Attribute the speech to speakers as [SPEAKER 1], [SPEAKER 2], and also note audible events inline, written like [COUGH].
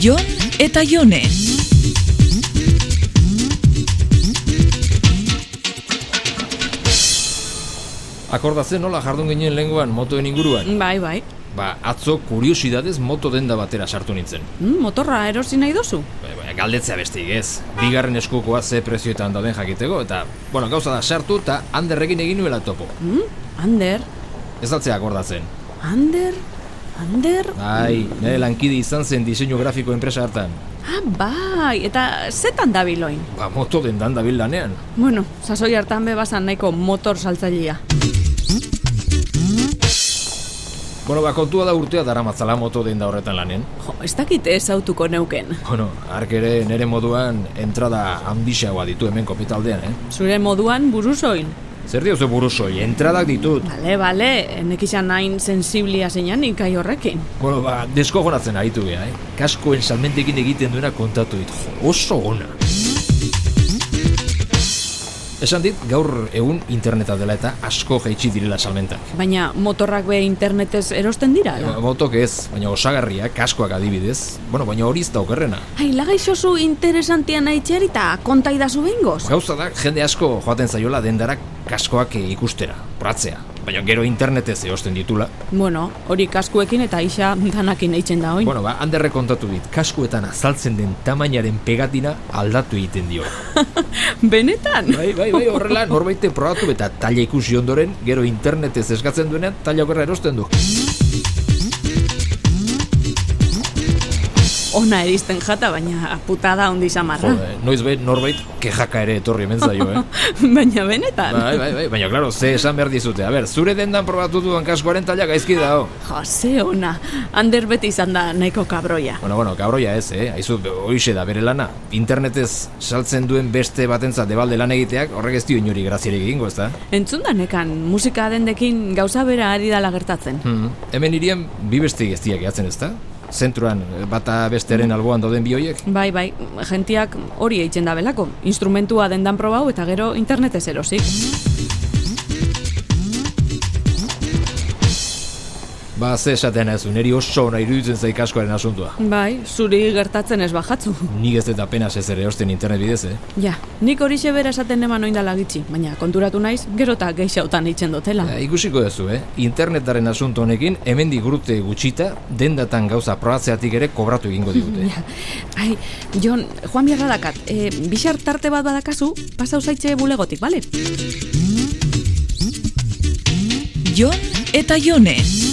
[SPEAKER 1] Jon eta Jone.
[SPEAKER 2] Akordatzen nola jardun ginen lenguan motoen inguruan?
[SPEAKER 3] Bai, bai.
[SPEAKER 2] Ba, atzo kuriosidadez moto denda batera sartu nintzen.
[SPEAKER 3] Mm, motorra erosi nahi duzu?
[SPEAKER 2] Ba, ba, galdetzea bestik ez. Bigarren eskukoa ze prezioetan dauden jakiteko eta, bueno, gauza da sartu eta handerrekin egin nuela topo.
[SPEAKER 3] Mm? Ander?
[SPEAKER 2] Ez datzea akordatzen.
[SPEAKER 3] Ander? Ander?
[SPEAKER 2] Ai, nire lankide izan zen diseinu grafiko enpresa hartan.
[SPEAKER 3] Ah, bai, eta zetan dabiloin.
[SPEAKER 2] Ba, moto dendan dabil lanean.
[SPEAKER 3] Bueno, sasoi hartan bebasan nahiko motor saltzailea.
[SPEAKER 2] Bueno, ba, kontua da urtea daramatzala moto denda horretan lanen.
[SPEAKER 3] Jo, ez dakit ez autuko neuken.
[SPEAKER 2] Bueno, hark ere nere moduan entrada handisagoa ditu hemen kopitaldean, eh?
[SPEAKER 3] Zure moduan buruzoin.
[SPEAKER 2] Zer diozu buruzoi, entradak ditut.
[SPEAKER 3] Bale, bale, enek izan hain sensiblia zeinan gai horrekin.
[SPEAKER 2] Bueno, ba, desko gonatzen aritu geha, eh? Kaskoen salmentekin egiten duena kontatu dit. Jo, oso ona. Esan dit, gaur egun interneta dela eta asko jaitsi direla salmentak.
[SPEAKER 3] Baina motorrak be internetez erosten dira,
[SPEAKER 2] Ba,
[SPEAKER 3] ala?
[SPEAKER 2] Motok ez, baina osagarriak, kaskoak adibidez. Bueno, baina hori ez da okerrena.
[SPEAKER 3] Ai, lagaixozu interesantian aitxer eta kontaidazu behingoz.
[SPEAKER 2] Gauza da, jende asko joaten zaiola dendarak kaskoak eh, ikustera, pratzea. Baina gero internetez eosten ditula.
[SPEAKER 3] Bueno, hori kaskuekin eta isa danakin eitzen da oin.
[SPEAKER 2] Bueno, ba, handerre kontatu dit, kaskuetan azaltzen den tamainaren pegatina aldatu egiten dio.
[SPEAKER 3] Benetan?
[SPEAKER 2] Bai, bai, bai, horrela norbaiten probatu eta taila ikusi ondoren, gero internetez eskatzen duenean taila okerra erosten du.
[SPEAKER 3] Ona eristen jata, baina putada handi samarra.
[SPEAKER 2] Jode, noiz behin norbait kejaka ere etorri hemen zaio, eh?
[SPEAKER 3] [LAUGHS] baina benetan?
[SPEAKER 2] Bai, bai, bai, baina klaro, ze esan behar dizute. A ber, zure dendan probatu duan kaskoaren taila gaizki dago.
[SPEAKER 3] Jose ona, Ander beti izan da nahiko kabroia.
[SPEAKER 2] Bueno, bueno, kabroia ez, eh? Aizu, hoxe da bere lana. Internetez saltzen duen beste batentzat debalde lan egiteak, horrek ez dio inori graziarik egingo, ez da?
[SPEAKER 3] Entzun da nekan, musika dendekin gauza bera ari dala gertatzen.
[SPEAKER 2] Hmm. Hemen irien, bi beste gestiak eatzen, ez da? Zentruan, eh, bata besteren alboan dauden bi hoiek?
[SPEAKER 3] Bai, bai, jentiak hori eitzen da belako. Instrumentua dendan probau eta gero internetez erosik.
[SPEAKER 2] Ba, ze esaten ez, neri oso ona iruditzen zaik askoaren asuntua.
[SPEAKER 3] Bai, zuri gertatzen ez bajatzu.
[SPEAKER 2] Nik ez eta apenas ez ere osten internet bidez, eh?
[SPEAKER 3] Ja, nik hori bera esaten eman oindala gitxi, baina konturatu naiz, gero eta geixautan eitzen dutela.
[SPEAKER 2] Ja, ikusiko duzu, eh? Internetaren asunto honekin, hemendik urte gutxita, dendatan gauza probatzeatik ere kobratu egingo digute.
[SPEAKER 3] Ai, Jon, Juan Bierra dakat, e, bixar tarte bat badakazu, pasau zaitxe bulegotik, bale?
[SPEAKER 1] Jon eta Jone.